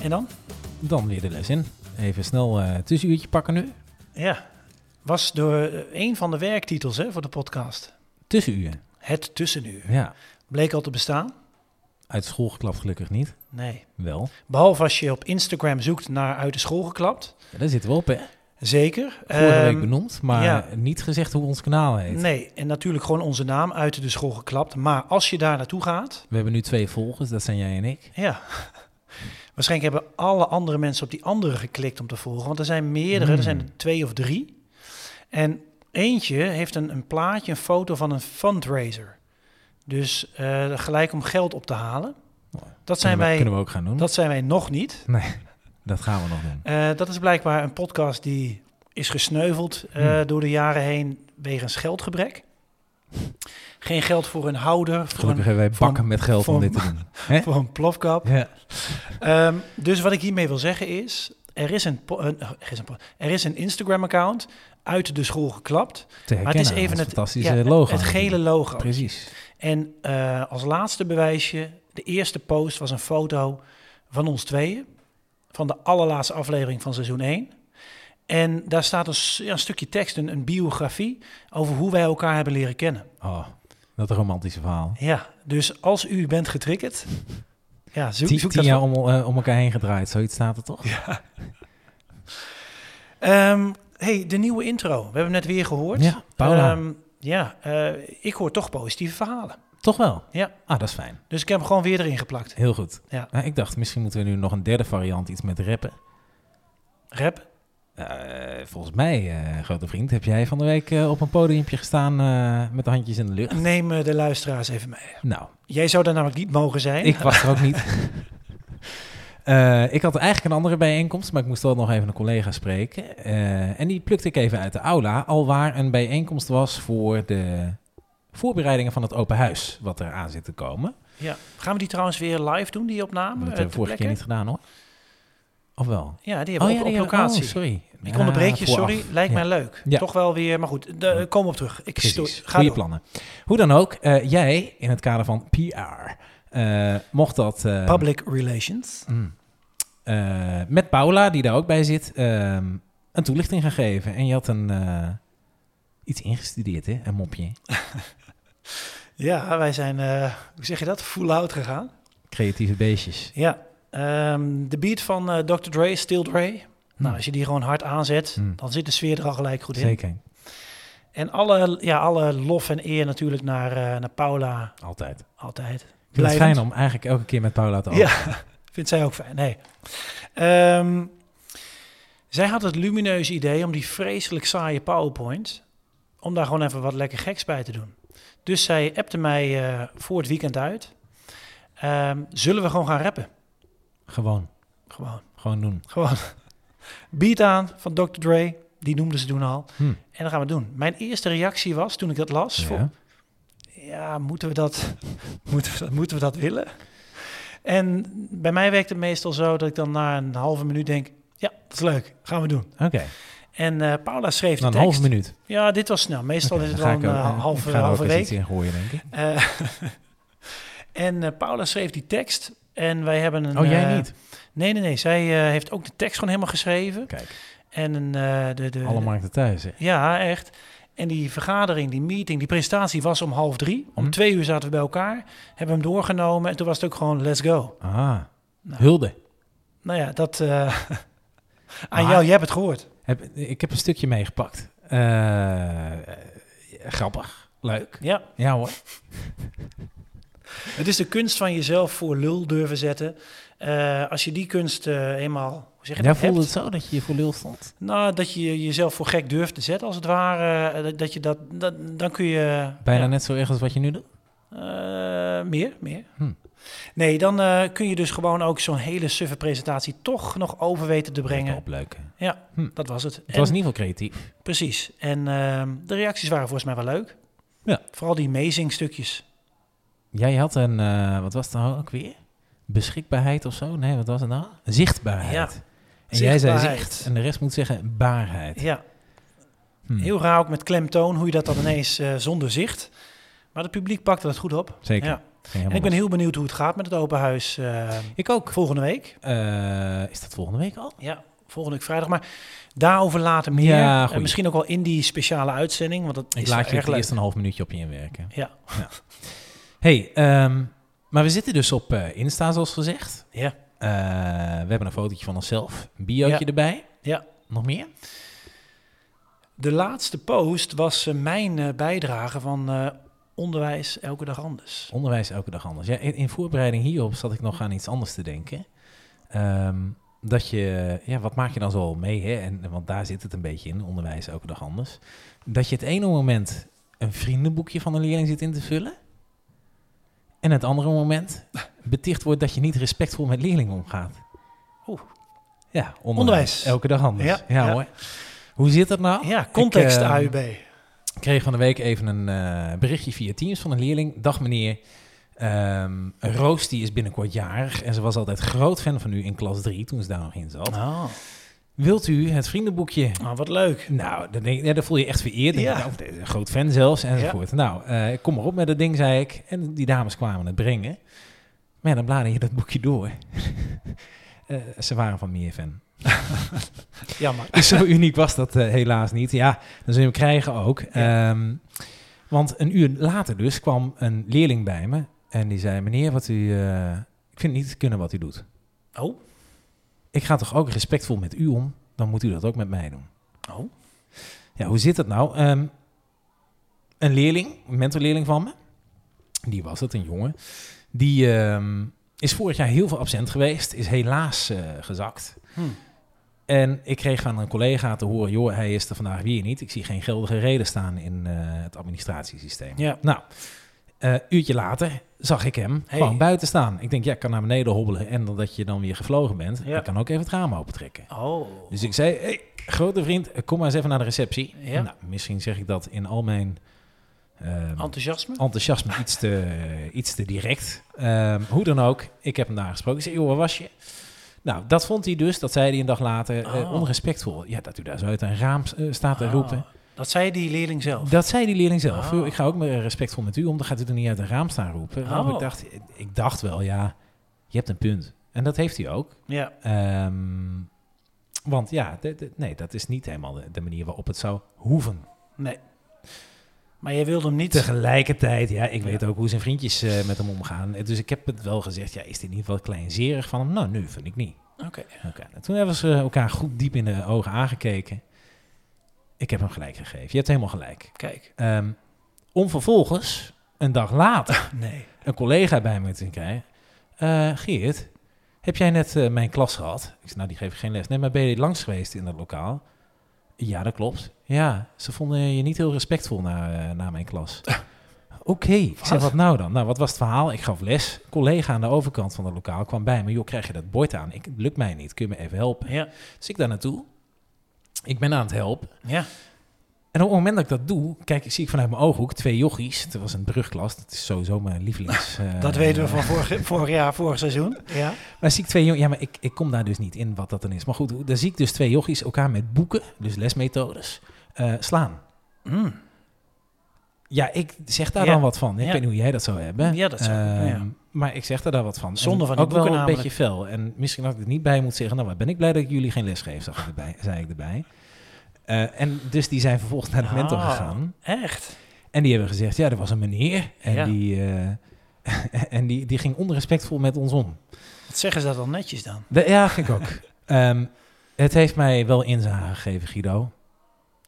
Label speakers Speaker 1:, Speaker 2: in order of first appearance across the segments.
Speaker 1: En dan?
Speaker 2: Dan weer de les in. Even snel eh tussenuurtje pakken nu.
Speaker 1: Ja, was door eh, een van de werktitels hè, voor de podcast.
Speaker 2: Tussenuur.
Speaker 1: Het tussenuur.
Speaker 2: Ja.
Speaker 1: Bleek al te bestaan?
Speaker 2: Uit school geklapt gelukkig niet.
Speaker 1: Nee.
Speaker 2: Wel.
Speaker 1: Behalve als je op Instagram zoekt naar uit de school geklapt.
Speaker 2: Ja, daar zitten we op, hè?
Speaker 1: Zeker.
Speaker 2: Vorige
Speaker 1: Ehm,
Speaker 2: week benoemd, maar
Speaker 1: ja.
Speaker 2: niet gezegd hoe ons kanaal heet.
Speaker 1: nee, en natuurlijk gewoon onze naam uit de school geklapt. Maar als je daar naartoe gaat,
Speaker 2: We hebben nu twee volgers, dat zijn jij en ik.
Speaker 1: ja. Waarschijnlijk hebben alle andere mensen op die andere geklikt om te volgen. Want er zijn meerdere,
Speaker 2: Hmm.
Speaker 1: er zijn er twee of drie. En eentje heeft een, een plaatje, een foto van een fundraiser. Dus eh, gelijk om geld op te halen.
Speaker 2: Nou,
Speaker 1: Dat zijn,
Speaker 2: kunnen, we,
Speaker 1: wij,
Speaker 2: kunnen we ook gaan doen. Dat,
Speaker 1: dat zijn wij nog niet.
Speaker 2: gaan we nog doen.
Speaker 1: Eh, dat is blijkbaar een podcast die is gesneuveld eh,
Speaker 2: Hmm.
Speaker 1: door de jaren heen wegens geldgebrek. Geen geld voor een houder, voor,
Speaker 2: Gelukkig
Speaker 1: een,
Speaker 2: hebben wij
Speaker 1: voor
Speaker 2: bakken met geld om
Speaker 1: voor-
Speaker 2: dit te doen. Hè?
Speaker 1: voor een plofkap.
Speaker 2: Ja.
Speaker 1: Ehm, dus wat ik hiermee wil zeggen is, er is een, po- een- oh, er is een, po- er is een Instagram-account uit de school geklapt.
Speaker 2: Te herkennen.
Speaker 1: Maar het is
Speaker 2: aan
Speaker 1: even
Speaker 2: ons
Speaker 1: het
Speaker 2: fantastische
Speaker 1: ja,
Speaker 2: logo.
Speaker 1: Het gele logo.
Speaker 2: Precies.
Speaker 1: En eh, als laatste bewijsje, de eerste post was een foto van ons tweeën. Van de allerlaatste aflevering van seizoen 1. En daar staat een, s- ja, een stukje tekst, een, een biografie over hoe wij elkaar hebben leren kennen.
Speaker 2: Oh, dat romantische verhaal.
Speaker 1: Ja, dus als u bent getriggerd, ja, zoek,
Speaker 2: Tien,
Speaker 1: zoek
Speaker 2: tien
Speaker 1: dat
Speaker 2: jaar
Speaker 1: wel.
Speaker 2: om, eh, om elkaar heen gedraaid, zoiets staat er toch?
Speaker 1: Ehm, hey, de nieuwe intro. We hebben hem net weer gehoord.
Speaker 2: Ja, Paula.
Speaker 1: Ehm, ja, eh, ik hoor toch positieve verhalen.
Speaker 2: Toch wel?
Speaker 1: Ja.
Speaker 2: Ah, dat is fijn.
Speaker 1: Dus ik heb hem gewoon weer erin geplakt.
Speaker 2: Heel goed.
Speaker 1: Ja.
Speaker 2: Nou, ik dacht, misschien moeten we nu nog een derde variant, iets met rappen.
Speaker 1: Rap.
Speaker 2: Eh, volgens mij, eh, grote vriend, heb jij van de week eh, op een podiumpje gestaan eh, met de handjes in de lucht?
Speaker 1: Neem eh, de luisteraars even mee.
Speaker 2: Nou,
Speaker 1: Jij zou daar namelijk niet mogen zijn.
Speaker 2: ik was er ook niet. Eh, ik had eigenlijk een andere bijeenkomst, maar ik moest wel nog even een collega spreken. Eh, en die plukte ik even uit de aula, alwaar een bijeenkomst was voor de voorbereidingen van het open huis, wat er aan zit te komen.
Speaker 1: Ja. Gaan we die trouwens weer live doen, die opname?
Speaker 2: Maar dat
Speaker 1: eh,
Speaker 2: hebben we vorige
Speaker 1: ter
Speaker 2: keer
Speaker 1: plekke?
Speaker 2: niet gedaan hoor. Of wel?
Speaker 1: Ja, die hebben we op,
Speaker 2: die
Speaker 1: op
Speaker 2: hebben-
Speaker 1: locatie.
Speaker 2: oh, sorry.
Speaker 1: Ik onderbreek je,
Speaker 2: Ah, vooraf.
Speaker 1: sorry. Lijkt
Speaker 2: Ja.
Speaker 1: mij leuk.
Speaker 2: Ja.
Speaker 1: Toch wel weer, maar goed. De, eh, kom op terug. Ik stoor.
Speaker 2: Precies,
Speaker 1: Ga
Speaker 2: goede
Speaker 1: door.
Speaker 2: plannen. Hoe dan ook, eh, jij in het kader van PR, eh, mocht dat eh,
Speaker 1: Public relations.
Speaker 2: mm, eh, met Paula, die daar ook bij zit, ehm, een toelichting gaan geven. En je had een, eh, iets ingestudeerd, hè? een mopje.
Speaker 1: Ja, wij zijn, eh, hoe zeg je dat? Full out gegaan.
Speaker 2: Creatieve beestjes.
Speaker 1: Ja. ehm, de beat van eh, Dr. Dre, Still Dre. Nou, als je die gewoon hard aanzet,
Speaker 2: Mm.
Speaker 1: dan zit de sfeer er al gelijk goed in.
Speaker 2: Hmm. Zeker,
Speaker 1: En alle, ja, alle lof en eer natuurlijk naar, eh, naar Paula
Speaker 2: altijd. Ik
Speaker 1: altijd.
Speaker 2: vind het
Speaker 1: Blijvend.
Speaker 2: fijn om eigenlijk elke keer met Paula te
Speaker 1: Ja.
Speaker 2: openen.
Speaker 1: Vindt zij ook fijn, nee. Ehm, zij had het lumineuze idee om die vreselijk saaie PowerPoint... om daar gewoon even wat lekker geks bij te doen. Dus zij appte mij eh, voor het weekend uit. Ehm, zullen we gewoon gaan rappen?
Speaker 2: Gewoon,
Speaker 1: Gewoon.
Speaker 2: gewoon doen.
Speaker 1: Gewoon. Beat aan van Dr. Dre. Die noemde ze toen al.
Speaker 2: Hm.
Speaker 1: En dan gaan we het doen. Mijn eerste reactie was, toen ik dat las...
Speaker 2: Ja.
Speaker 1: van, ja, moeten we dat, moeten we dat, moeten we dat willen? En bij mij werkt het meestal zo dat ik dan na een halve minuut denk, ja, dat is leuk, gaan we doen.
Speaker 2: Oké,
Speaker 1: En eh, Paula schreef de
Speaker 2: nou, een
Speaker 1: tekst.
Speaker 2: halve minuut.
Speaker 1: Ja, dit was snel. Meestal
Speaker 2: Oké,
Speaker 1: is het
Speaker 2: dan
Speaker 1: wel
Speaker 2: ga
Speaker 1: een
Speaker 2: ik ook-
Speaker 1: eh,
Speaker 2: ik
Speaker 1: halve,
Speaker 2: ga er ook
Speaker 1: halve
Speaker 2: eens
Speaker 1: week.
Speaker 2: iets in gooien, denk ik.
Speaker 1: Eh, en eh, Paula schreef die tekst en wij hebben een...
Speaker 2: Oh, jij
Speaker 1: eh,
Speaker 2: niet?
Speaker 1: Nee, nee, nee. Zij eh, heeft ook de tekst gewoon helemaal geschreven.
Speaker 2: Kijk,
Speaker 1: En een, eh, de, de,
Speaker 2: alle markten thuis, hè?
Speaker 1: Ja, echt. En die vergadering, die meeting, die presentatie was om half drie. Om
Speaker 2: Hm.
Speaker 1: twee uur zaten we bij elkaar, hebben hem doorgenomen en toen was het ook gewoon let's go.
Speaker 2: Ah,
Speaker 1: Nou.
Speaker 2: hulde.
Speaker 1: Nou ja, dat eh, aan
Speaker 2: Maar-
Speaker 1: jou, jij hebt het gehoord.
Speaker 2: Heb, ik heb een stukje meegepakt. Eh, eh, grappig, leuk.
Speaker 1: Ja,
Speaker 2: Ja hoor.
Speaker 1: het is de kunst van jezelf voor lul durven zetten. Eh, als je die kunst eh, eenmaal, hoe zeg je
Speaker 2: Jij
Speaker 1: dat, hebt,
Speaker 2: voelde het zo dat je je voor lul stond?
Speaker 1: nou, dat je jezelf voor gek durft te zetten als het ware, eh, dat, dat je dat, dat, dan kun je...
Speaker 2: Bijna
Speaker 1: ja,
Speaker 2: net zo erg als wat je nu doet?
Speaker 1: eh, Eh, meer, meer.
Speaker 2: Hm.
Speaker 1: Nee, dan eh, kun je dus gewoon ook zo'n hele suffe presentatie toch nog over weten te brengen.
Speaker 2: Opleuken.
Speaker 1: Dat was het.
Speaker 2: Het
Speaker 1: En-
Speaker 2: was in ieder geval creatief.
Speaker 1: Precies. En ehm, de reacties waren volgens mij wel leuk.
Speaker 2: Ja.
Speaker 1: Vooral die amazing stukjes.
Speaker 2: Jij had een, eh, wat was het nou ook weer? Beschikbaarheid of zo? Nee, wat was het nou? Zichtbaarheid.
Speaker 1: Ja.
Speaker 2: En jij zei
Speaker 1: Zichtbaarheid.
Speaker 2: zicht en de rest moet zeggen baarheid.
Speaker 1: Ja,
Speaker 2: Hm,
Speaker 1: heel raar ook met klemtoon hoe je dat dan ineens eh, zonder zicht. Maar het publiek pakte dat goed op.
Speaker 2: Zeker.
Speaker 1: Ja.
Speaker 2: Geen
Speaker 1: En ik ben
Speaker 2: helemaal
Speaker 1: heel benieuwd hoe het gaat met het open huis eh,
Speaker 2: los. Ik ook.
Speaker 1: volgende week.
Speaker 2: Eh, is dat volgende week al?
Speaker 1: Ja, volgende week vrijdag. Maar daarover later meer.
Speaker 2: Ja,
Speaker 1: En
Speaker 2: goeie.
Speaker 1: misschien ook wel in die speciale uitzending. Want dat
Speaker 2: Ik
Speaker 1: is
Speaker 2: laat je
Speaker 1: erg
Speaker 2: het
Speaker 1: leuk.
Speaker 2: eerst een half minuutje op je inwerken.
Speaker 1: Ja.
Speaker 2: hey, ehm, maar we zitten dus op eh, Insta, zoals gezegd.
Speaker 1: Ja.
Speaker 2: Eh, we hebben een fotootje van onszelf. Een biootje
Speaker 1: Ja.
Speaker 2: erbij.
Speaker 1: Ja.
Speaker 2: Nog meer?
Speaker 1: De laatste post was eh, mijn eh, bijdrage van eh, Onderwijs Elke Dag Anders.
Speaker 2: Onderwijs elke dag anders. Ja, in, in voorbereiding hierop zat ik nog aan iets anders te denken. Ehm, dat je, ja, wat maak je dan zoal mee? Hè? En, want daar zit het een beetje in, onderwijs elke dag anders. Dat je het ene moment een vriendenboekje van een leerling zit in te vullen. En het andere moment beticht wordt dat je niet respectvol met leerlingen omgaat.
Speaker 1: Oeh.
Speaker 2: Ja, onderwijs,
Speaker 1: Onderwijs.
Speaker 2: elke dag anders. Ja,
Speaker 1: Ja, ja.
Speaker 2: hoor. Hoe zit dat nou?
Speaker 1: Ja, context
Speaker 2: Ik, eh,
Speaker 1: AUB.
Speaker 2: Ik kreeg van de week even een eh, berichtje via Teams van een leerling. Dag meneer, ehm, Roos die is binnenkort jarig en ze was altijd groot fan van u in klas 3 toen ze daar nog in zat.
Speaker 1: Oh,
Speaker 2: Wilt u het vriendenboekje?
Speaker 1: nou, wat leuk.
Speaker 2: Nou, dan, denk, ik- ja, dan voel je je echt vereerd. Denk,
Speaker 1: Ja.
Speaker 2: nou, dit is een groot fan zelfs enzovoort. Nou, eh, kom maar op met dat ding, zei ik. En die dames kwamen het brengen. Maar ja, dan blader je dat boekje door. Eh, ze waren van meer fan.
Speaker 1: Jammer.
Speaker 2: Zo uniek was dat eh, helaas niet. Ja, dan zul je hem krijgen ook. Ehm, want een uur later dus kwam een leerling bij me en die zei: Meneer, wat u, eh, ik vind het niet kunnen wat u doet.
Speaker 1: Oh.
Speaker 2: Ik ga toch ook respectvol met u om, dan moet u dat ook met mij doen.
Speaker 1: Oh.
Speaker 2: Ja, hoe zit dat nou? Ehm, een leerling, een mentorleerling van me, die was het, een jongen, die ehm, is vorig jaar heel veel absent geweest, is helaas eh, gezakt.
Speaker 1: Hmm.
Speaker 2: En ik kreeg van een collega te horen, joh, hij is er vandaag weer niet. Ik zie geen geldige reden staan in eh, het administratiesysteem.
Speaker 1: Ja.
Speaker 2: Nou, eh uurtje later zag ik hem
Speaker 1: Hey.
Speaker 2: gewoon buiten staan. Ik denk, ja, ik kan naar beneden hobbelen en dat je dan weer gevlogen bent.
Speaker 1: Ja.
Speaker 2: Ik kan ook even het raam open trekken.
Speaker 1: Oh.
Speaker 2: Dus ik zei, hey, grote vriend, kom maar eens even naar de receptie.
Speaker 1: Ja.
Speaker 2: Nou, misschien zeg ik dat in al mijn ehm,
Speaker 1: Enthousiasme?
Speaker 2: enthousiasme iets te, iets te direct. Ehm, hoe dan ook, ik heb hem daar gesproken. Ik zei, joh, waar was je? Nou, dat vond hij dus, dat zei hij een dag later, eh,
Speaker 1: Oh.
Speaker 2: onrespectvol. Ja, dat u daar zo uit een raam eh, staat te
Speaker 1: Ah,
Speaker 2: roepen.
Speaker 1: Dat zei die leerling zelf.
Speaker 2: Dat zei die leerling zelf.
Speaker 1: Oh.
Speaker 2: Joh, Ik ga ook maar respectvol met u om, dan gaat u er niet uit een raam staan roepen. Waarop
Speaker 1: Oh.
Speaker 2: Ik, dacht, ik dacht wel, ja, je hebt een punt. En dat heeft hij ook.
Speaker 1: Ja.
Speaker 2: Ehm, want ja, de- de- nee, dat is niet helemaal de, de manier waarop het zou hoeven.
Speaker 1: Nee. Maar jij wilde hem niet...
Speaker 2: Tegelijkertijd, ja, ik
Speaker 1: Ja.
Speaker 2: weet ook hoe zijn vriendjes eh, met hem omgaan. Eh, Dus ik heb het wel gezegd, ja, is dit in ieder geval kleinzerig van hem? Nou, nu vind ik niet.
Speaker 1: Oké.
Speaker 2: Oké. En Toen hebben ze elkaar goed diep in de ogen aangekeken. Ik heb hem gelijk gegeven. Je hebt helemaal gelijk.
Speaker 1: Kijk.
Speaker 2: Ehm, om vervolgens, een dag later,
Speaker 1: Nee.
Speaker 2: een collega bij me te krijgen. Eh, Geert, heb jij net eh, mijn klas gehad? Ik zei, nou, die geef ik geen les. Nee, maar ben je langs geweest in dat lokaal? Ja, dat klopt. Ja, ze vonden je niet heel respectvol na, eh, na mijn klas. Oké, ik zeg,
Speaker 1: Ah. Wat?
Speaker 2: wat nou dan? Nou, wat was het verhaal? Ik gaf les. Een collega aan de overkant van het lokaal kwam bij me. Joh, krijg je dat bord aan? Ik, het lukt mij niet. Kun je me even helpen?
Speaker 1: Ja.
Speaker 2: Dus ik daar naartoe. Ik ben aan het helpen.
Speaker 1: Ja.
Speaker 2: En op het moment dat ik dat doe, kijk, zie ik vanuit mijn ooghoek twee jochies. Het was een brugklas, dat is sowieso mijn lievelings. eh,
Speaker 1: Dat weten we van vorig, vorig jaar, vorig seizoen. Ja.
Speaker 2: Maar zie ik twee jongens, ja, maar ik, ik kom daar dus niet in wat dat dan is. Maar goed, daar zie ik dus twee jochies elkaar met boeken, dus lesmethodes, eh, slaan. Hmm.
Speaker 1: Mm.
Speaker 2: Ja, ik zeg daar
Speaker 1: Ja.
Speaker 2: dan wat van. Ik
Speaker 1: Ja.
Speaker 2: weet niet hoe jij dat zou hebben.
Speaker 1: Ja, dat zou ik,
Speaker 2: Ehm,
Speaker 1: ja.
Speaker 2: Maar ik zeg daar dan wat van. En
Speaker 1: Zonde van die
Speaker 2: Ook wel
Speaker 1: boeken
Speaker 2: een
Speaker 1: namelijk.
Speaker 2: beetje fel. En misschien had ik er niet bij moet zeggen. Nou, maar ben ik blij dat ik jullie geen les geef, zag ik erbij, zei ik erbij. Eh, en dus die zijn vervolgens naar de mentor
Speaker 1: Ah.
Speaker 2: gegaan.
Speaker 1: Echt?
Speaker 2: En die hebben gezegd, ja, er was een meneer. En,
Speaker 1: Ja.
Speaker 2: die, eh, en die, die ging onrespectvol met ons om.
Speaker 1: Wat zeggen ze dat dan netjes dan?
Speaker 2: De- ja, vind ik ook. Ehm, het heeft mij wel inzage gegeven, Guido.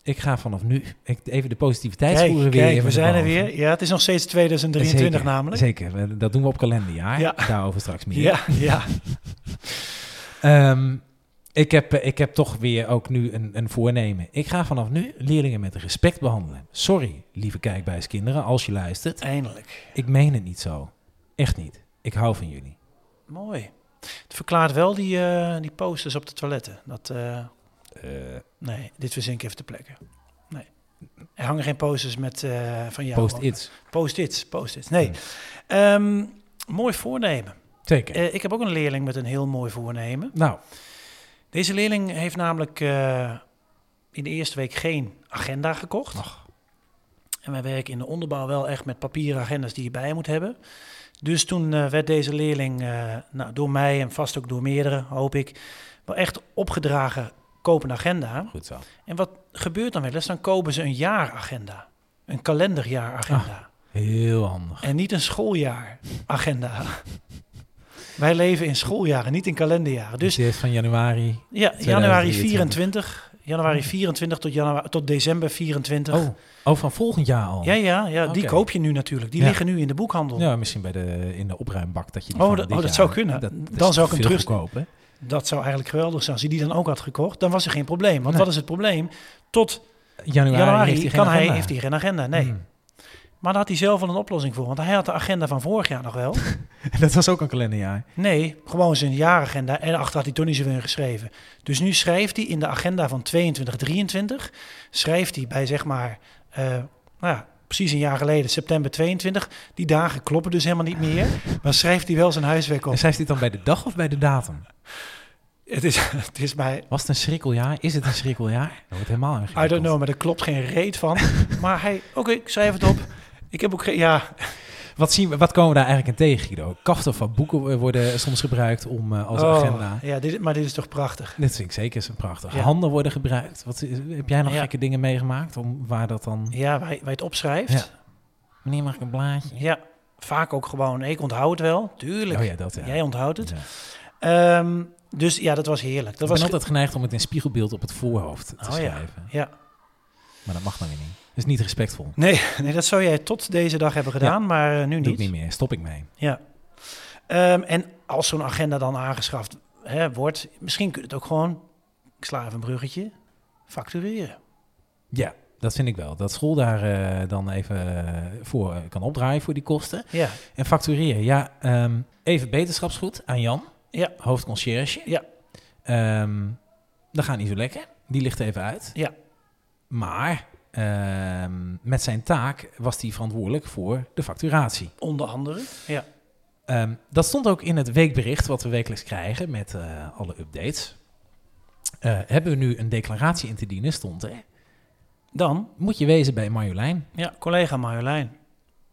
Speaker 2: Ik ga vanaf nu ik, even de positiviteitsvoeren
Speaker 1: Kijk,
Speaker 2: weer.
Speaker 1: kijk,
Speaker 2: even
Speaker 1: we zijn er
Speaker 2: erboven.
Speaker 1: weer. Ja, het is nog steeds 2023
Speaker 2: Zeker,
Speaker 1: namelijk.
Speaker 2: Zeker, We- dat doen we op kalenderjaar.
Speaker 1: Ja.
Speaker 2: Daarover straks meer.
Speaker 1: Ja, ja.
Speaker 2: Ehm, ik, heb, eh, ik heb toch weer ook nu een, een voornemen. Ik ga vanaf nu leerlingen met respect behandelen. Sorry, lieve kijkbuiskinderen, als je luistert.
Speaker 1: Eindelijk.
Speaker 2: Ik meen het niet zo. Echt niet. Ik hou van jullie.
Speaker 1: Mooi. Het verklaart wel die, eh, die posters op de toiletten. Dat, eh, nee, dit verzin ik even te plekken. Nee. Er hangen geen posters met eh, van jou.
Speaker 2: Post-its.
Speaker 1: Post-its, post-its. Nee.
Speaker 2: Hmm.
Speaker 1: Ehm, mooi voornemen.
Speaker 2: Zeker.
Speaker 1: Eh, ik heb ook een leerling met een heel mooi voornemen.
Speaker 2: nou,
Speaker 1: Deze leerling heeft namelijk eh, in de eerste week geen agenda gekocht. En wij werken in de onderbouw wel echt met papieren agendas die je bij je moet hebben. Dus toen eh, werd deze leerling eh, nou, door mij en vast ook door meerdere, hoop ik, wel echt opgedragen, koop een agenda.
Speaker 2: goed zo.
Speaker 1: En wat gebeurt dan wel eens? Dan kopen ze een jaaragenda. Een kalenderjaaragenda.
Speaker 2: Heel handig.
Speaker 1: En niet een schooljaaragenda. Wij leven in schooljaren, niet in kalenderjaren. Dus
Speaker 2: Dus dit is van januari.
Speaker 1: ja,
Speaker 2: 2023.
Speaker 1: januari 24. Januari 24 tot, januari, tot december 24.
Speaker 2: Oh, oh, van volgend jaar al.
Speaker 1: Ja, ja, ja die
Speaker 2: Oké.
Speaker 1: koop je nu natuurlijk. Die
Speaker 2: Ja.
Speaker 1: liggen nu in de boekhandel.
Speaker 2: Ja, misschien bij de, in de opruimbak dat je die
Speaker 1: Oh,
Speaker 2: van
Speaker 1: dat-
Speaker 2: dit
Speaker 1: oh, dat
Speaker 2: jaar-
Speaker 1: zou kunnen.
Speaker 2: is
Speaker 1: Dan zou ik hem
Speaker 2: veel
Speaker 1: terug-
Speaker 2: goedkoper.
Speaker 1: Dat zou eigenlijk geweldig zijn. Als hij die dan ook had gekocht, dan was er geen probleem. Want
Speaker 2: Nee.
Speaker 1: wat is het probleem? Tot
Speaker 2: Januari,
Speaker 1: januari
Speaker 2: heeft hij geen
Speaker 1: kan hij,
Speaker 2: agenda.
Speaker 1: heeft hij geen agenda. Nee.
Speaker 2: Hmm.
Speaker 1: Maar daar had hij zelf wel een oplossing voor. Want hij had de agenda van vorig jaar nog wel.
Speaker 2: Dat was ook een kalenderjaar.
Speaker 1: Nee, gewoon zijn jaaragenda. En achter had hij toen niet zoveel in geschreven. Dus nu schrijft hij in de agenda van 22, 23. Schrijft hij bij zeg maar, eh, nou ja, precies een jaar geleden, september 22. Die dagen kloppen dus helemaal niet meer. Maar schrijft hij wel zijn huiswerk op.
Speaker 2: En schrijft hij het dan bij de dag of bij de datum?
Speaker 1: Het is, het is mij
Speaker 2: Was het een schrikkeljaar? Is het een schrikkeljaar? Dat wordt helemaal een
Speaker 1: I don't know, maar er klopt geen reet van. maar hij, oké, ik schrijf het op. Ik heb ook geen, ja,
Speaker 2: Wat, zien we, wat komen we daar eigenlijk in tegen, Guido? Kaften van boeken eh, worden soms gebruikt om, eh, als
Speaker 1: Oh,
Speaker 2: agenda.
Speaker 1: Ja, dit, maar dit is toch prachtig.
Speaker 2: Dit vind ik zeker zo prachtig.
Speaker 1: Ja.
Speaker 2: Handen worden gebruikt. Wat, is- heb jij nog
Speaker 1: Ja.
Speaker 2: gekke dingen meegemaakt? Om, waar dat dan...
Speaker 1: Ja, wij, wij het opschrijft.
Speaker 2: Ja.
Speaker 1: Ja.
Speaker 2: Meneer, mag ik een blaadje?
Speaker 1: vaak ook gewoon, ik onthoud het wel. Tuurlijk.
Speaker 2: Oh ja, dat ja.
Speaker 1: Jij onthoudt het.
Speaker 2: Ja.
Speaker 1: Ehm, dus ja, dat was heerlijk. Dat
Speaker 2: ik
Speaker 1: was
Speaker 2: ben altijd geneigd om het in spiegelbeeld op het voorhoofd te
Speaker 1: Oh ja.
Speaker 2: schrijven.
Speaker 1: Ja.
Speaker 2: Maar dat mag nou weer niet. Dat is niet respectvol.
Speaker 1: Nee, nee, dat zou jij tot deze dag hebben gedaan, maar eh, nu
Speaker 2: Doe ik
Speaker 1: niet.
Speaker 2: niet meer. Stop ik mee.
Speaker 1: Ja. Ehm, en als zo'n agenda dan aangeschaft hè, wordt, misschien kun je het ook gewoon, ik sla even een bruggetje, factureren.
Speaker 2: Ja, dat vind ik wel. Dat school daar eh, dan even eh, voor eh, kan opdraaien voor die kosten.
Speaker 1: Ja,
Speaker 2: En factureren. Ja, ehm, even beterschapsgoed aan Jan.
Speaker 1: Ja.
Speaker 2: Hoofdconciërge.
Speaker 1: Ja.
Speaker 2: Ehm, dat gaat niet zo lekker. Die ligt even uit.
Speaker 1: Ja.
Speaker 2: Maar ehm, met zijn taak was hij verantwoordelijk voor de facturatie.
Speaker 1: onder andere. Ja.
Speaker 2: Ehm, dat stond ook in het weekbericht wat we wekelijks krijgen met eh, alle updates. Eh, hebben we nu een declaratie in te dienen, stond er.
Speaker 1: Dan
Speaker 2: Moet je wezen bij Marjolein.
Speaker 1: Ja, collega Marjolein.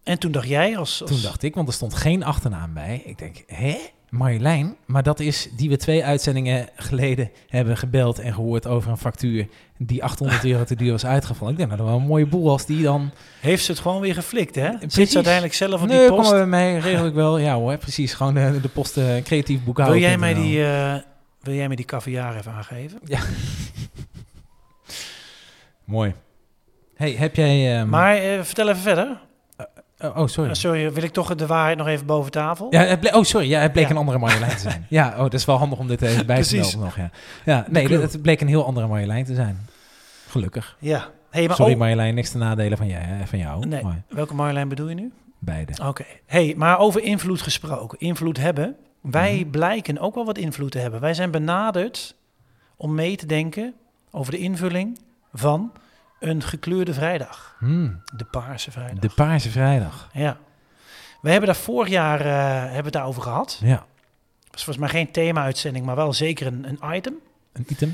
Speaker 1: En toen dacht jij als... als
Speaker 2: Toen dacht ik, want er stond geen achternaam bij. Ik denk, hè? Marjolein? Maar dat is die we twee uitzendingen geleden hebben gebeld en gehoord over een factuur die 800 euro te duur was uitgevallen. Ik denk, nou, dat wel een mooie boel als die dan...
Speaker 1: Heeft ze het gewoon weer geflikt, hè? Zit
Speaker 2: Precies.
Speaker 1: ze uiteindelijk zelf op
Speaker 2: nee,
Speaker 1: die
Speaker 2: kom
Speaker 1: post?
Speaker 2: maar bij mij, regel ik wel. Ja hoor, precies. Gewoon de, de post eh, creatief
Speaker 1: Wil
Speaker 2: boekhouden.
Speaker 1: jij mij die... eh, wil jij mij die caviar even aangeven?
Speaker 2: Mooi. Hey, heb jij... ehm,
Speaker 1: eh, Maar eh, vertel even verder.
Speaker 2: Oh, oh, sorry.
Speaker 1: Eh, sorry, wil ik toch de waarheid nog even boven tafel?
Speaker 2: Ja, het ble- oh, sorry. Ja, het bleek
Speaker 1: Ja.
Speaker 2: een andere Marjolein te zijn. Ja, oh, dat is wel handig om dit even bij te
Speaker 1: Precies.
Speaker 2: melden nog. Ja, ja nee,
Speaker 1: clue.
Speaker 2: het bleek een heel andere Marjolein te zijn. Gelukkig.
Speaker 1: Ja. Hey, maar
Speaker 2: sorry
Speaker 1: oh-
Speaker 2: Marjolein, niks te nadelen van, jij, hè, van jou.
Speaker 1: Nee.
Speaker 2: Maar
Speaker 1: Welke Marjolein bedoel je nu?
Speaker 2: beide.
Speaker 1: Oké. Hey, maar over invloed gesproken. Invloed hebben. Wij
Speaker 2: Mhm.
Speaker 1: blijken ook wel wat invloed te hebben. Wij zijn benaderd om mee te denken over de invulling van een gekleurde vrijdag.
Speaker 2: Hmm,
Speaker 1: De Paarse Vrijdag.
Speaker 2: de Paarse Vrijdag.
Speaker 1: Ja. We hebben daar vorig jaar eh, hebben we het daarover gehad.
Speaker 2: Ja,
Speaker 1: Het was volgens mij geen thema-uitzending, maar wel zeker een, een item.
Speaker 2: een item.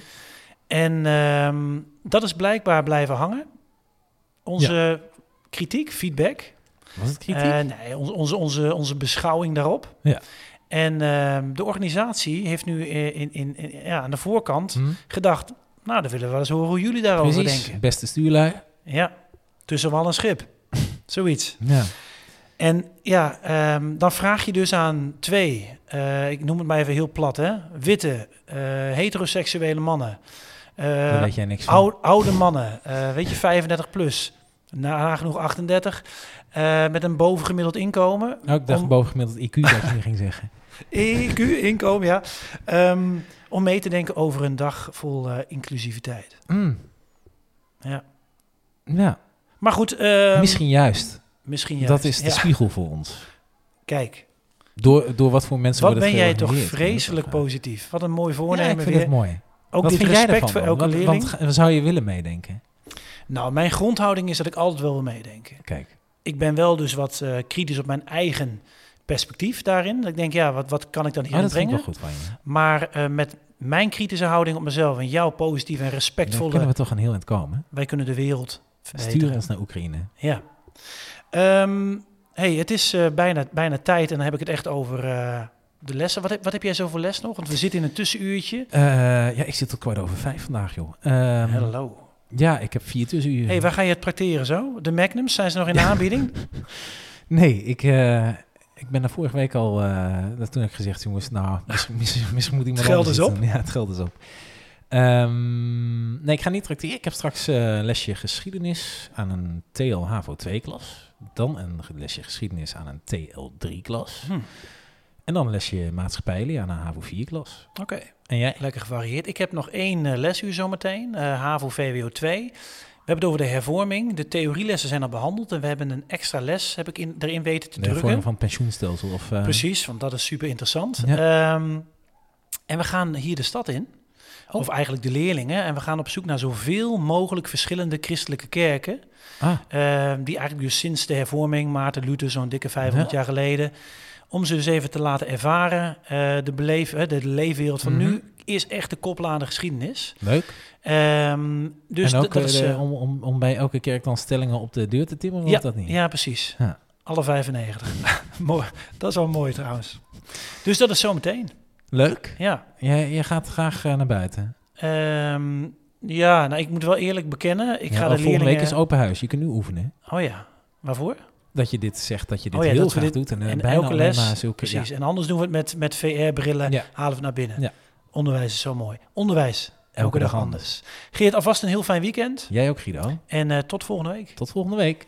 Speaker 1: En ehm, dat is blijkbaar blijven hangen. Onze kritiek, feedback.
Speaker 2: Was het kritiek?
Speaker 1: Eh, nee, on- onze, onze, onze beschouwing daarop.
Speaker 2: Ja.
Speaker 1: En ehm, de organisatie heeft nu eh, in, in, in- ja, aan de voorkant
Speaker 2: Hmm,
Speaker 1: gedacht... Nou, dan willen we Eh, wel eens horen hoe jullie daarover
Speaker 2: Precies,
Speaker 1: denken.
Speaker 2: beste stuurlui.
Speaker 1: Ja, tussen wal en schip. Zoiets.
Speaker 2: Ja.
Speaker 1: En ja, ehm, dan vraag je dus aan twee, eh, ik noem het maar even heel plat, hè, witte, eh, heteroseksuele mannen, eh,
Speaker 2: Daar weet jij niks van.
Speaker 1: ou- oude mannen, eh, weet je, 35 plus, na- nagenoeg 38, eh, met een bovengemiddeld inkomen.
Speaker 2: Oh, ik dacht
Speaker 1: om-
Speaker 2: bovengemiddeld IQ dat je hier ging zeggen.
Speaker 1: EQ, inkomen, ja. Ehm, om mee te denken over een dag vol eh, inclusiviteit.
Speaker 2: Hmm.
Speaker 1: Ja.
Speaker 2: Ja,
Speaker 1: Maar goed, ehm,
Speaker 2: misschien juist.
Speaker 1: misschien juist.
Speaker 2: dat is de
Speaker 1: Ja,
Speaker 2: spiegel voor ons.
Speaker 1: Kijk,
Speaker 2: Door, door wat voor mensen
Speaker 1: Wat
Speaker 2: wordt
Speaker 1: ben
Speaker 2: het
Speaker 1: jij toch
Speaker 2: geregeneerd?
Speaker 1: positief.
Speaker 2: Ja, eh,
Speaker 1: positief. Wat een mooi
Speaker 2: Ja, ik
Speaker 1: voornemen
Speaker 2: vind
Speaker 1: weer.
Speaker 2: het mooi.
Speaker 1: Ook
Speaker 2: wat
Speaker 1: dit
Speaker 2: vind jij
Speaker 1: respect
Speaker 2: ervan
Speaker 1: voor
Speaker 2: dan?
Speaker 1: elke
Speaker 2: Wat-
Speaker 1: leerling.
Speaker 2: Wat, ga- zou je willen meedenken?
Speaker 1: Nou, mijn grondhouding is dat ik altijd wel wil meedenken.
Speaker 2: Kijk,
Speaker 1: Ik ben wel dus wat eh, kritisch op mijn eigen perspectief daarin. Dat ik denk, ja, wat, wat kan ik dan
Speaker 2: oh,
Speaker 1: hierin
Speaker 2: dat vind ik
Speaker 1: brengen?
Speaker 2: wel goed van je.
Speaker 1: Maar eh, met mijn kritische houding op mezelf en jouw positieve en
Speaker 2: Daar
Speaker 1: respectvolle...
Speaker 2: kunnen we toch een heel eind komen.
Speaker 1: Wij kunnen de wereld verbeteren.
Speaker 2: Stuur eens naar Oekraïne.
Speaker 1: Ja. Ehm, hey, het is eh, bijna, bijna tijd en dan heb ik het echt over eh, de lessen. Wat heb, wat heb jij zo voor les nog? Want we zitten in een tussenuurtje.
Speaker 2: Eh, ja, ik zit tot kwart over vijf vandaag, joh. Ehm,
Speaker 1: Hallo.
Speaker 2: ja, ik heb vier tussenuren.
Speaker 1: hey, waar ga je het tracteren zo? De Magnums, zijn ze nog in de aanbieding?
Speaker 2: Nee, ik, eh, ik ben daar vorige week al... eh, dat toen heb ik gezegd, jongens, nou, misschien, misschien, misschien moet iemand
Speaker 1: Het geld
Speaker 2: anders
Speaker 1: is
Speaker 2: iets doen. Ja, het geld is op. Ehm, nee, ik ga niet tracteren. Ik heb straks eh, lesje geschiedenis aan een TL-HAVO-2-klas. Dan een lesje geschiedenis aan een TL-3-klas.
Speaker 1: Hm.
Speaker 2: En dan een lesje maatschappijleer aan een HAVO-4-klas.
Speaker 1: Oké.
Speaker 2: En jij?
Speaker 1: Lekker gevarieerd. Ik heb nog één eh, lesuur zometeen, eh HAVO VWO 2. We hebben het over de hervorming. De theorielessen zijn al behandeld en we hebben een extra les heb ik in, erin weten te
Speaker 2: De
Speaker 1: drukken.
Speaker 2: vorm van het pensioenstelsel of... eh,
Speaker 1: Precies, want dat is super interessant. Ehm, en we gaan hier de stad in.
Speaker 2: Oh.
Speaker 1: Of eigenlijk de leerlingen. En we gaan op zoek naar zoveel mogelijk verschillende christelijke kerken.
Speaker 2: Ah,
Speaker 1: ehm, die eigenlijk dus sinds de hervorming, Maarten Luther, zo'n dikke 500
Speaker 2: Ja.
Speaker 1: jaar geleden. Om ze dus even te laten ervaren. eh, de, beleef, eh, de leefwereld van
Speaker 2: Mhm.
Speaker 1: nu is echt de kop aan de geschiedenis.
Speaker 2: leuk.
Speaker 1: Ehm, dus
Speaker 2: en ook
Speaker 1: dat- dat
Speaker 2: eh,
Speaker 1: is,
Speaker 2: de-
Speaker 1: eh,
Speaker 2: om, om, om bij elke kerk dan stellingen op de deur te timmeren, of dat niet?
Speaker 1: Ja, precies.
Speaker 2: Ja.
Speaker 1: Alle 95. mooi. Dat is wel mooi trouwens. Dus dat is zometeen.
Speaker 2: Leuk.
Speaker 1: Ja.
Speaker 2: Jij, jij gaat graag eh, naar buiten.
Speaker 1: Ehm, ja, nou, ik moet wel eerlijk bekennen. Ik
Speaker 2: Ja,
Speaker 1: ga
Speaker 2: oh,
Speaker 1: de
Speaker 2: volgende
Speaker 1: leerlingen...
Speaker 2: week is open huis. Je kunt nu oefenen.
Speaker 1: Oh ja, waarvoor?
Speaker 2: Dat je dit zegt, dat je dit
Speaker 1: Oh ja,
Speaker 2: heel
Speaker 1: dat we
Speaker 2: graag
Speaker 1: dit-
Speaker 2: doet. En, eh,
Speaker 1: en
Speaker 2: bijna
Speaker 1: elke
Speaker 2: alleen
Speaker 1: les,
Speaker 2: maar zulke- ja.
Speaker 1: Precies. En anders doen we het met, met VR-brillen.
Speaker 2: Ja.
Speaker 1: Halen we het naar binnen.
Speaker 2: Ja.
Speaker 1: Onderwijs is zo mooi. Onderwijs, elke, dag,
Speaker 2: dag
Speaker 1: anders. Geert, alvast een heel fijn weekend.
Speaker 2: Jij ook, Guido.
Speaker 1: En eh, tot volgende week.
Speaker 2: Tot volgende week.